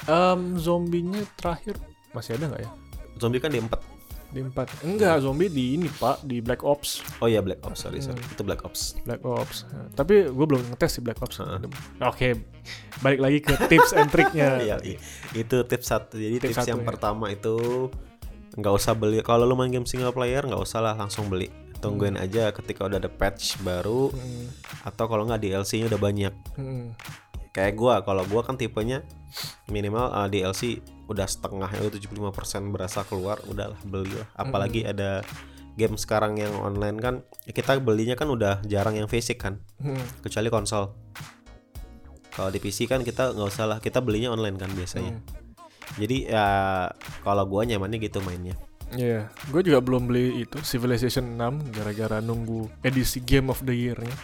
Speaker 1: Em zombinya terakhir masih ada nggak ya?
Speaker 2: zombie kan di empat.
Speaker 1: Di empat. Enggak zombie di ini pak di Black Ops.
Speaker 2: Oh iya Black Ops sorry sorry. Itu Black Ops.
Speaker 1: Black Ops. Nah, Tapi gue belum ngetes sih Black Ops.
Speaker 2: Heeh.
Speaker 1: Oke, balik lagi ke tips and
Speaker 2: Iya,
Speaker 1: triknya.
Speaker 2: <laughs> iya. itu tips satu. Jadi
Speaker 1: Tips
Speaker 2: tips,
Speaker 1: satu,
Speaker 2: yang
Speaker 1: ya.
Speaker 2: pertama itu nggak usah beli. Kalau lu main game single player nggak usah lah langsung beli. Tungguin aja ketika udah ada patch baru
Speaker 1: Hmm,
Speaker 2: atau kalau nggak DLC-nya udah banyak.
Speaker 1: hmm,
Speaker 2: Kayak gua, kalau gua kan tipenya minimal uh, DLC udah setengah itu 75% berasa keluar, udahlah belilah. Apalagi ada game sekarang yang online kan kita belinya kan udah jarang yang fisik kan,
Speaker 1: hmm.
Speaker 2: kecuali konsol. Kalau di PC kan kita nggak usah lah, kita belinya online kan biasanya. Jadi ya kalau gua nyamannya gitu mainnya.
Speaker 1: Iya, gue juga belum beli itu Civilization 6 gara-gara nunggu edisi Game of the Year-nya.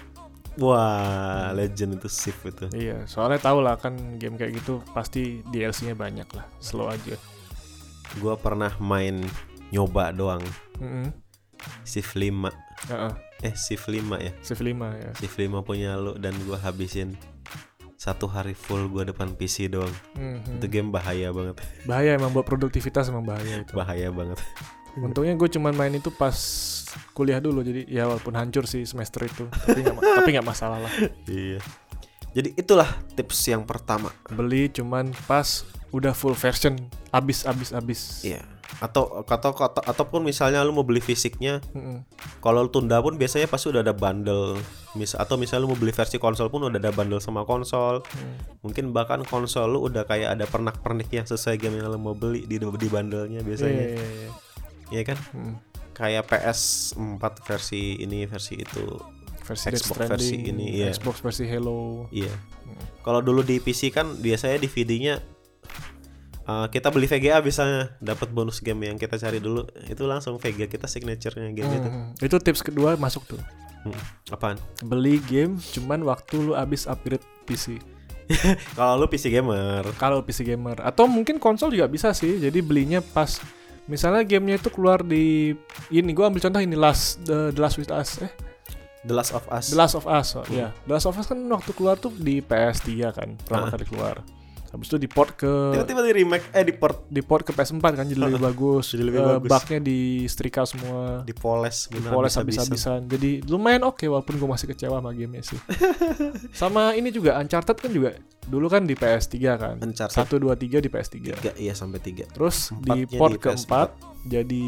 Speaker 2: Wah, legend itu sip itu.
Speaker 1: Iya, soalnya tau lah kan game kayak gitu pasti DLC-nya banyak lah, slow aja.
Speaker 2: Gua pernah main nyoba doang Hmm.
Speaker 1: Mm-mm.
Speaker 2: Civ 5.
Speaker 1: Heeh,
Speaker 2: Eh Civ 5 ya.
Speaker 1: Civ 5 ya.
Speaker 2: Civ 5 punya lu dan gua habisin satu hari full gua depan PC doang.
Speaker 1: Mhm.
Speaker 2: Itu game bahaya banget.
Speaker 1: Bahaya emang buat produktivitas emang bahaya itu.
Speaker 2: bahaya banget. <laughs> Iya.
Speaker 1: Untungnya gue cuman main itu pas kuliah dulu jadi ya walaupun hancur sih semester itu tapi nggak ma- <laughs> tapi nggak masalah lah
Speaker 2: iya. Jadi itulah tips yang pertama.
Speaker 1: beli cuman pas udah full version abis abis abis
Speaker 2: Iya. Atau atau atau- ataupun misalnya lu mau beli fisiknya,
Speaker 1: Mm-mm.
Speaker 2: kalau lu tunda pun biasanya pasti udah ada bundle. Mis atau misalnya lu mau beli versi konsol pun udah ada bundle sama konsol.
Speaker 1: Hmm.
Speaker 2: Mungkin bahkan konsol lu udah kayak ada pernak-pernik yang sesuai game yang lu mau beli di di bundlenya
Speaker 1: Iya,
Speaker 2: biasanya.
Speaker 1: iya, iya.
Speaker 2: Iya kan?
Speaker 1: Mm-mm.
Speaker 2: Kayak PS4 versi ini versi itu.
Speaker 1: versi
Speaker 2: Xbox
Speaker 1: Death Stranding,
Speaker 2: versi ini, iya.
Speaker 1: Xbox versi Halo
Speaker 2: Iya.
Speaker 1: Hmm.
Speaker 2: Kalau dulu di PC kan biasanya DVD-nya uh, kita beli VGA misalnya dapat bonus game yang kita cari dulu itu langsung VGA kita signaturenya game itu.
Speaker 1: Mm-mm. itu tips kedua masuk tuh
Speaker 2: Hmm. Apaan?
Speaker 1: beli game cuman waktu lu abis upgrade PC
Speaker 2: Kalau lu PC gamer,
Speaker 1: Kalau PC gamer atau mungkin konsol juga bisa sih. Jadi belinya pas misalnya gamenya itu keluar di ini gua ambil contoh ini last the, the last with us eh
Speaker 2: The Last of Us.
Speaker 1: the last of us oh, iya.
Speaker 2: Hmm.
Speaker 1: the last of us kan waktu keluar tuh di PS3 kan pertama kali keluar habis itu di port ke
Speaker 2: Ah. Tiba-tiba di remake eh di port
Speaker 1: di port ke PS4 kan jadi
Speaker 2: <laughs>
Speaker 1: lebih bagus
Speaker 2: Jadi lebih
Speaker 1: Eh,
Speaker 2: bagus.
Speaker 1: bugnya di setrika semua
Speaker 2: dipoles beneran
Speaker 1: poles habis-habisan.
Speaker 2: habis-habisan.
Speaker 1: Jadi lumayan oke walaupun gue masih kecewa sama gamenya
Speaker 2: <laughs>
Speaker 1: sih. sama ini juga Uncharted kan juga dulu kan di PS3 kan.
Speaker 2: Uncharted.
Speaker 1: Satu 1 2 3 di PS3.
Speaker 2: Tiga, iya sampai tiga.
Speaker 1: Terus di
Speaker 2: Empatnya di
Speaker 1: port
Speaker 2: PS4.
Speaker 1: keempat jadi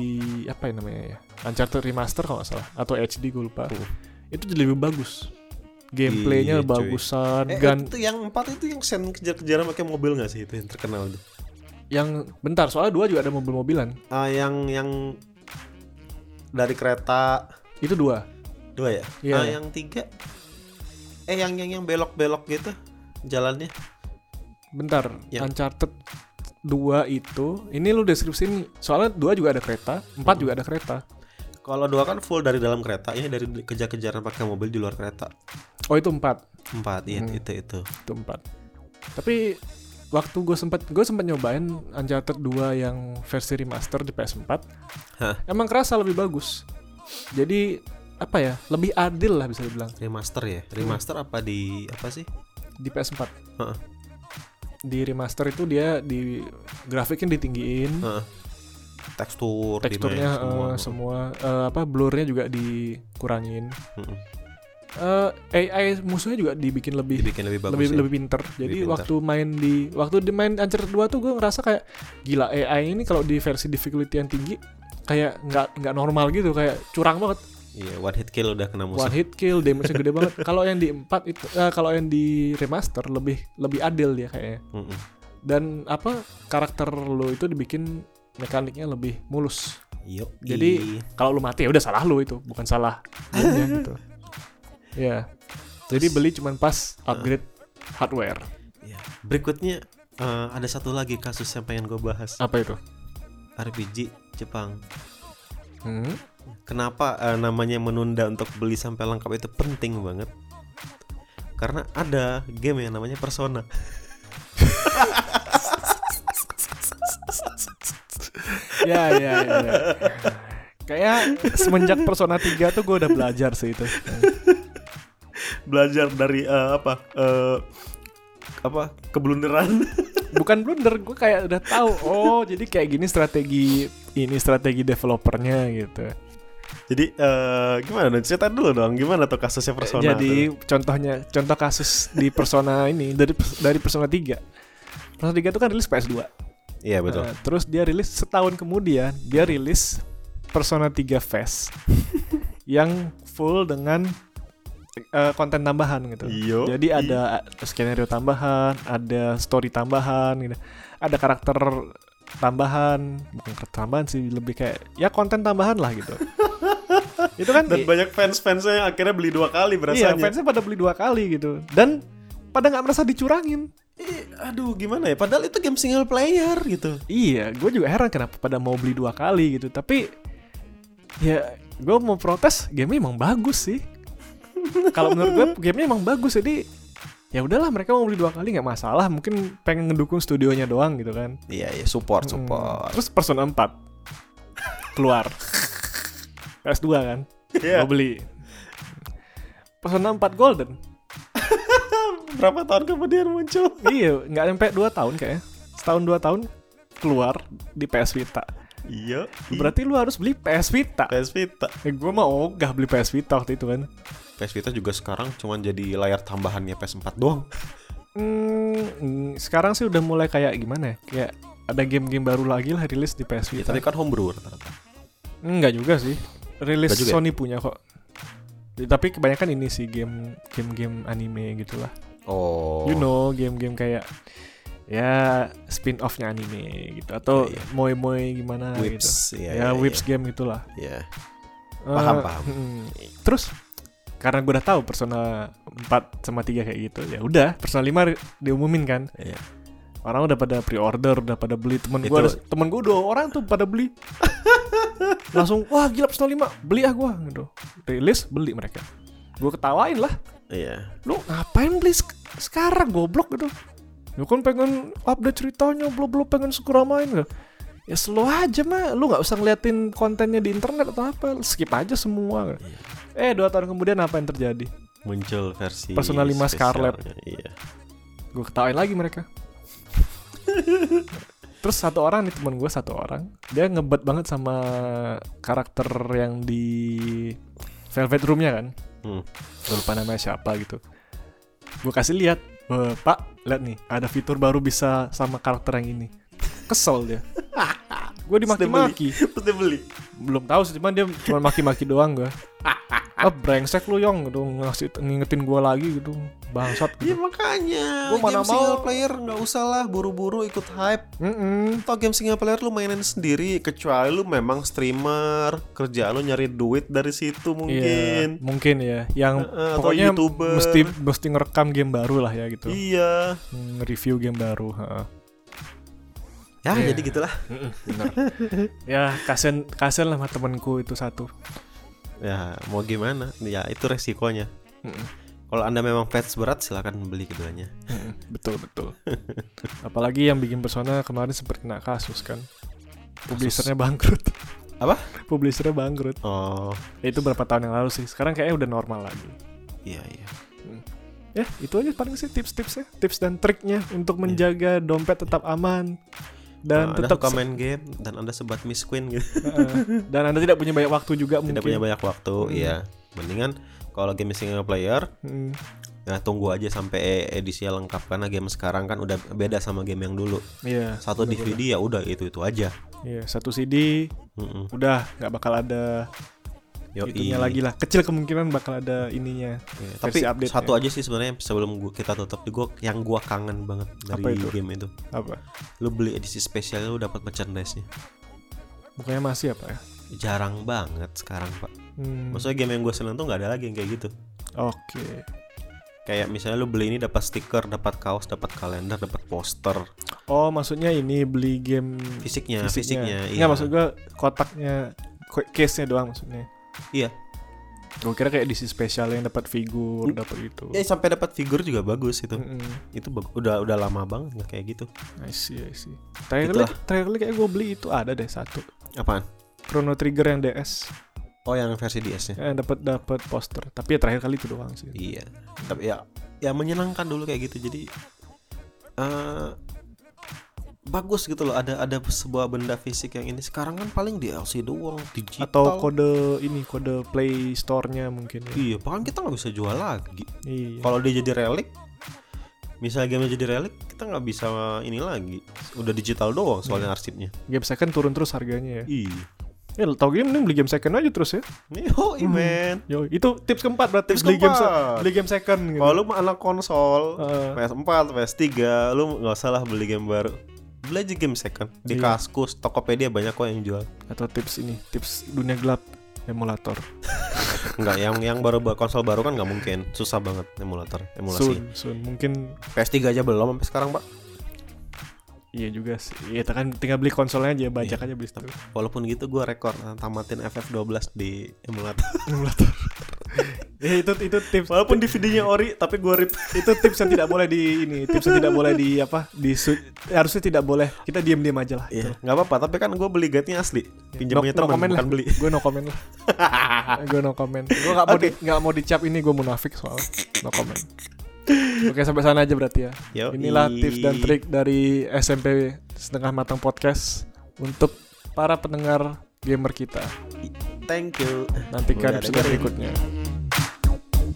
Speaker 1: apa ya namanya ya? Uncharted remaster kalau nggak salah atau HD gue lupa.
Speaker 2: Hmm.
Speaker 1: Itu jadi lebih bagus. Gameplaynya
Speaker 2: Iya, cuy.
Speaker 1: bagusan,
Speaker 2: Eh,
Speaker 1: gun
Speaker 2: itu yang empat itu yang sen kejar-kejaran pakai mobil nggak sih itu yang terkenal itu?
Speaker 1: yang bentar soalnya dua juga ada mobil-mobilan.
Speaker 2: Ah, yang yang dari kereta
Speaker 1: Itu dua.
Speaker 2: dua ya?
Speaker 1: Iya.
Speaker 2: Ah, yang tiga? Eh, yang yang yang belok-belok gitu jalannya?
Speaker 1: Bentar,
Speaker 2: Ya.
Speaker 1: Uncharted 2 itu ini lu deskripsi ini soalnya dua juga ada kereta, empat juga ada kereta.
Speaker 2: Kalau dua kan full dari dalam kereta, ini dari kejar-kejaran pakai mobil di luar kereta.
Speaker 1: Oh itu empat,
Speaker 2: Empat, iya
Speaker 1: Hmm.
Speaker 2: itu itu.
Speaker 1: itu empat. Tapi waktu gue sempat gue sempat nyobain Uncharted 2 yang versi remaster di PS4,
Speaker 2: Hah.
Speaker 1: emang kerasa lebih bagus. Jadi apa ya lebih adil lah bisa dibilang
Speaker 2: Remaster ya? Remaster
Speaker 1: Hmm.
Speaker 2: apa di apa sih?
Speaker 1: di PS4.
Speaker 2: Heeh.
Speaker 1: Di remaster itu dia di grafiknya ditinggiin,
Speaker 2: Heeh. Tekstur,
Speaker 1: teksturnya eh, semua, eh, apa blurnya juga dikurangin.
Speaker 2: Heeh.
Speaker 1: Eh, AI musuhnya juga dibikin lebih
Speaker 2: Dibikin lebih bagus.
Speaker 1: lebih
Speaker 2: ya?
Speaker 1: lebih pinter. Jadi
Speaker 2: pinter.
Speaker 1: waktu main di waktu di main Uncharted 2 tuh gue ngerasa kayak gila AI ini kalau di versi difficulty yang tinggi kayak nggak nggak normal gitu kayak curang banget
Speaker 2: Iya, one hit kill udah kena musuh.
Speaker 1: one hit kill damage-nya gede
Speaker 2: <laughs>
Speaker 1: banget kalau yang di 4 itu eh, kalau yang di remaster lebih lebih adil dia kayaknya
Speaker 2: Heeh.
Speaker 1: dan apa karakter lo itu dibikin mekaniknya lebih mulus
Speaker 2: Yuk.
Speaker 1: Jadi- kalau lu mati ya udah salah lu itu bukan salah <laughs> gamenya gitu ya jadi beli cuman pas upgrade hardware
Speaker 2: Iya. berikutnya eh, ada satu lagi kasus yang pengen gue bahas.
Speaker 1: apa itu
Speaker 2: RPG Jepang.
Speaker 1: hmm?
Speaker 2: Kenapa eh, namanya menunda untuk beli sampai lengkap itu penting banget? Karena ada game yang namanya Persona. <laughs>
Speaker 1: ya ya ya, ya. kayak semenjak Persona 3 tuh gue udah belajar sih itu
Speaker 2: Belajar dari eh, apa? eh, apa kebelunderan
Speaker 1: bukan blunder gue kayak udah tahu oh jadi kayak gini strategi ini strategi developernya gitu
Speaker 2: <laughs> jadi eh, gimana dong cerita dulu dong gimana tuh kasusnya persona tuh?
Speaker 1: jadi contohnya contoh kasus di Persona ini dari dari Persona 3 Persona 3 tuh kan rilis PS2
Speaker 2: iya betul
Speaker 1: Nah, terus dia rilis setahun kemudian dia rilis Persona 3
Speaker 2: <laughs>
Speaker 1: Fest yang full dengan eh, konten tambahan gitu.
Speaker 2: Yo.
Speaker 1: Jadi ada skenario tambahan, ada story tambahan, gitu. ada karakter tambahan, bukan karakter tambahan sih lebih kayak ya konten tambahan lah
Speaker 2: <laughs>
Speaker 1: gitu. Itu kan
Speaker 2: dan banyak fans fansnya yang akhirnya beli dua
Speaker 1: iya
Speaker 2: kali berasanya
Speaker 1: fansnya pada beli dua kali gitu dan pada nggak merasa dicurangin.
Speaker 2: Eh, aduh gimana ya padahal itu game single player gitu
Speaker 1: Iya, gue juga heran kenapa pada mau beli dua kali gitu. Tapi ya gue mau protes, gamenya emang bagus sih. Kalau menurut gue gamenya emang bagus, jadi ya udahlah mereka mau beli dua kali nggak masalah. Mungkin pengen ngedukung studionya doang gitu kan.
Speaker 2: iya iya support
Speaker 1: Hmm. Terus Persona 4 keluar. PS2 kan,
Speaker 2: <laughs> Iya.
Speaker 1: gue beli. Persona 4 Golden,
Speaker 2: berapa tahun kemudian muncul
Speaker 1: iya nggak sampai 2 tahun kayaknya. Setahun dua tahun keluar di PS Vita.
Speaker 2: iya
Speaker 1: Berarti lu harus beli PS Vita.
Speaker 2: PS Vita
Speaker 1: Ya gue mah ogah beli PS Vita waktu itu kan
Speaker 2: PS Vita juga sekarang cuman jadi layar tambahannya PS4 <laughs> doang
Speaker 1: Hmm, hmm, sekarang sih udah mulai kayak gimana ya Kayak ada game-game baru lagi lah rilis di PS
Speaker 2: ya,
Speaker 1: Vita
Speaker 2: tapi kan homebrew rata-rata
Speaker 1: Enggak juga sih Rilis
Speaker 2: Enggak juga ya?
Speaker 1: Sony punya kok Ya, Tapi kebanyakan ini sih game game-game anime gitu lah
Speaker 2: oh
Speaker 1: You know game-game kayak Ya spin offnya anime gitu Atau
Speaker 2: Ya, ya.
Speaker 1: moe-moe gimana gitu
Speaker 2: whips Iya,
Speaker 1: Ya, whips game gitulah
Speaker 2: ya
Speaker 1: Eh,
Speaker 2: Paham, paham.
Speaker 1: mm, Terus karena gue udah tahu Persona 4 sama 3 kayak gitu, ya udah Persona 5 ri- diumumin kan.
Speaker 2: Iya.
Speaker 1: Orang udah pada pre-order, udah pada beli. Temen gue
Speaker 2: Itu-
Speaker 1: ada, temen gue dua orang tuh pada
Speaker 2: <laughs>
Speaker 1: beli. Langsung wah gila Persona 5, beli ah gue gitu. Rilis beli mereka. Gue ketawain lah.
Speaker 2: Iya.
Speaker 1: lu ngapain beli sek- sekarang goblok gitu lu kan pengen update ceritanya belum belum pengen segera main gitu ya slow aja mah lu nggak usah ngeliatin kontennya di internet atau apa skip aja semua gitu. eh dua tahun kemudian apa yang terjadi
Speaker 2: Muncul versi
Speaker 1: Persona 5 Scarlet.
Speaker 2: spesialnya, Iya.
Speaker 1: gue ketawain lagi mereka terus satu orang nih teman gue satu orang dia ngebet banget sama karakter yang di Velvet Roomnya kan
Speaker 2: <laughs> Hmm.
Speaker 1: Gua lupa namanya siapa gitu gue kasih lihat "Eh, pak lihat nih ada fitur baru bisa sama karakter yang ini kesel
Speaker 2: <laughs>
Speaker 1: dia gue dimaki-maki
Speaker 2: Terus dia beli.
Speaker 1: belum tahu sih cuman dia cuma maki-maki doang
Speaker 2: <laughs>
Speaker 1: gue ah brengsek lu yong gitu ngasih ngingetin gue lagi gitu bangsat
Speaker 2: Iya <laughs>
Speaker 1: gitu Gua
Speaker 2: makanya.
Speaker 1: mana
Speaker 2: game
Speaker 1: mau.
Speaker 2: single player nggak usah lah buru-buru ikut hype.
Speaker 1: Mm-mm.
Speaker 2: Atau game single player lu mainin sendiri kecuali lu memang streamer kerjaan lu nyari duit dari situ
Speaker 1: Iya,
Speaker 2: mungkin.
Speaker 1: mungkin ya yang
Speaker 2: Heeh, atau
Speaker 1: pokoknya
Speaker 2: YouTuber.
Speaker 1: mesti mesti ngerekam game baru lah ya gitu
Speaker 2: Iya.
Speaker 1: nge-review game baru heeh.
Speaker 2: Ya
Speaker 1: Iya.
Speaker 2: jadi gitulah.
Speaker 1: ya kasian kasian lah sama temanku itu satu
Speaker 2: Ya mau gimana? Ya itu resikonya.
Speaker 1: Mm-mm.
Speaker 2: Kalau anda memang fans berat silahkan beli keduanya.
Speaker 1: Mm-mm. betul betul <laughs> apalagi yang bikin persona kemarin sempat kena kasus kan publishernya bangkrut
Speaker 2: <laughs> Apa?
Speaker 1: publishernya bangkrut
Speaker 2: Oh
Speaker 1: Ya, itu berapa tahun yang lalu sih sekarang kayaknya udah normal lagi
Speaker 2: iya iya.
Speaker 1: ya itu aja paling sih tips-tipsnya tips dan triknya untuk menjaga dompet tetap aman dan
Speaker 2: Iya. Nah, anda
Speaker 1: tetap
Speaker 2: suka main game dan anda sebat Miss Queen gitu.
Speaker 1: <laughs>
Speaker 2: <laughs>
Speaker 1: Heeh. dan anda tidak punya banyak waktu juga mungkin
Speaker 2: Tidak punya banyak waktu. Iya. Mendingan kalau game single player
Speaker 1: Hmm.
Speaker 2: ya tunggu aja sampai edisinya lengkap karena game sekarang kan udah beda sama game yang dulu.
Speaker 1: Iya,
Speaker 2: Satu DVD ya udah itu itu aja.
Speaker 1: iya satu CD
Speaker 2: Mm-mm.
Speaker 1: udah nggak bakal ada
Speaker 2: Yoi.
Speaker 1: itunya lagi lah. Kecil kemungkinan bakal ada ininya.
Speaker 2: Iya, Tapi
Speaker 1: versi update-nya.
Speaker 2: satu aja sih sebenarnya sebelum gua, kita tutup gua yang gua kangen banget dari
Speaker 1: Apa itu?
Speaker 2: game itu.
Speaker 1: Apa?
Speaker 2: Lu beli edisi spesial lu dapat merchandise-nya.
Speaker 1: Bukannya masih apa ya?
Speaker 2: Jarang banget sekarang, Pak.
Speaker 1: Hmm,
Speaker 2: Maksudnya game yang gue seneng tuh nggak ada lagi yang kayak gitu.
Speaker 1: Oke.
Speaker 2: Kayak misalnya lu beli ini dapat stiker, dapat kaos, dapat kalender, dapat poster.
Speaker 1: Oh, maksudnya ini beli game
Speaker 2: Fisiknya,
Speaker 1: fisiknya.
Speaker 2: fisiknya. iya.
Speaker 1: Nggak, maksud gua kotaknya ko- case-nya doang maksudnya.
Speaker 2: Iya.
Speaker 1: Gue kira kayak edisi spesial yang dapat figur, dapat itu.
Speaker 2: Ya, sampai dapat figur juga bagus itu.
Speaker 1: Mm-mm.
Speaker 2: Itu bag- udah udah lama banget nggak kayak gitu.
Speaker 1: I see, I see. Terakhir kali, terakhir kali kayak gue beli itu ada deh satu.
Speaker 2: Apaan?
Speaker 1: Chrono Trigger yang DS.
Speaker 2: Oh, yang versi
Speaker 1: Eh,
Speaker 2: DS-nya.
Speaker 1: dapat dapat poster. Tapi ya terakhir kali itu doang sih.
Speaker 2: Iya. Tapi ya ya menyenangkan dulu kayak gitu. Jadi eh bagus gitu loh ada ada sebuah benda fisik yang ini sekarang kan paling DLC doang digital
Speaker 1: atau kode ini kode Play Store-nya mungkin ya.
Speaker 2: iya bahkan kita nggak bisa jual lagi
Speaker 1: Iya.
Speaker 2: Kalau dia jadi relik, misalnya gamenya jadi relik, kita nggak bisa ini lagi. Udah digital doang
Speaker 1: Iya.
Speaker 2: soalnya arsipnya.
Speaker 1: Game second turun terus harganya ya.
Speaker 2: Iya.
Speaker 1: Ya tau gini mending beli game second aja terus ya.
Speaker 2: Yo, man.
Speaker 1: Yo, itu tips keempat berarti
Speaker 2: Tips
Speaker 1: beli game se-
Speaker 2: keempat.
Speaker 1: beli game second gitu. Eh,
Speaker 2: Kalau lu mah anak konsol,
Speaker 1: Heeh.
Speaker 2: PS4, PS3, lu nggak usah lah beli game baru. Beli aja game second di
Speaker 1: Iya.
Speaker 2: Kaskus, Tokopedia banyak kok yang jual.
Speaker 1: Atau tips ini, tips dunia gelap emulator.
Speaker 2: Enggak, yang yang baru konsol baru kan nggak mungkin, susah banget emulator, emulasi.
Speaker 1: Soon, soon. Mungkin
Speaker 2: PS3 aja belum sampai sekarang, Pak.
Speaker 1: iya juga sih. Iya, kita kan tinggal beli konsolnya aja, bajak
Speaker 2: Iya.
Speaker 1: aja beli itu.
Speaker 2: Walaupun gitu gua rekor eh, tamatin FF12 di emulator.
Speaker 1: emulator. ya itu itu tips.
Speaker 2: Walaupun DVD-nya ori, tapi gua rip.
Speaker 1: <laughs> itu tips yang tidak boleh di ini, tips yang tidak boleh di apa? Di su- harusnya tidak boleh. Kita diam-diam aja lah.
Speaker 2: Iya, nggak apa-apa. Tapi kan gue beli guide-nya asli, pinjamnya
Speaker 1: Pinjamnya
Speaker 2: teman bukan beli.
Speaker 1: Gue no Iya. comment
Speaker 2: <laughs>
Speaker 1: lah. gue no comment. Gue gak mau
Speaker 2: Oke.
Speaker 1: di, gak mau dicap ini gue munafik soalnya. No comment. Oke sampai sana aja berarti ya.
Speaker 2: Yoi.
Speaker 1: Inilah tips dan trik dari SMP Setengah Matang Podcast untuk para pendengar gamer kita.
Speaker 2: Thank you.
Speaker 1: Nantikan
Speaker 2: Udah
Speaker 1: episode
Speaker 2: dengerin.
Speaker 1: berikutnya.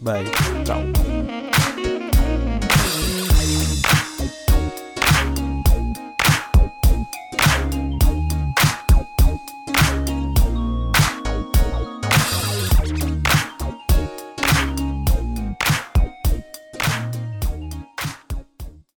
Speaker 2: Bye.
Speaker 1: Ciao.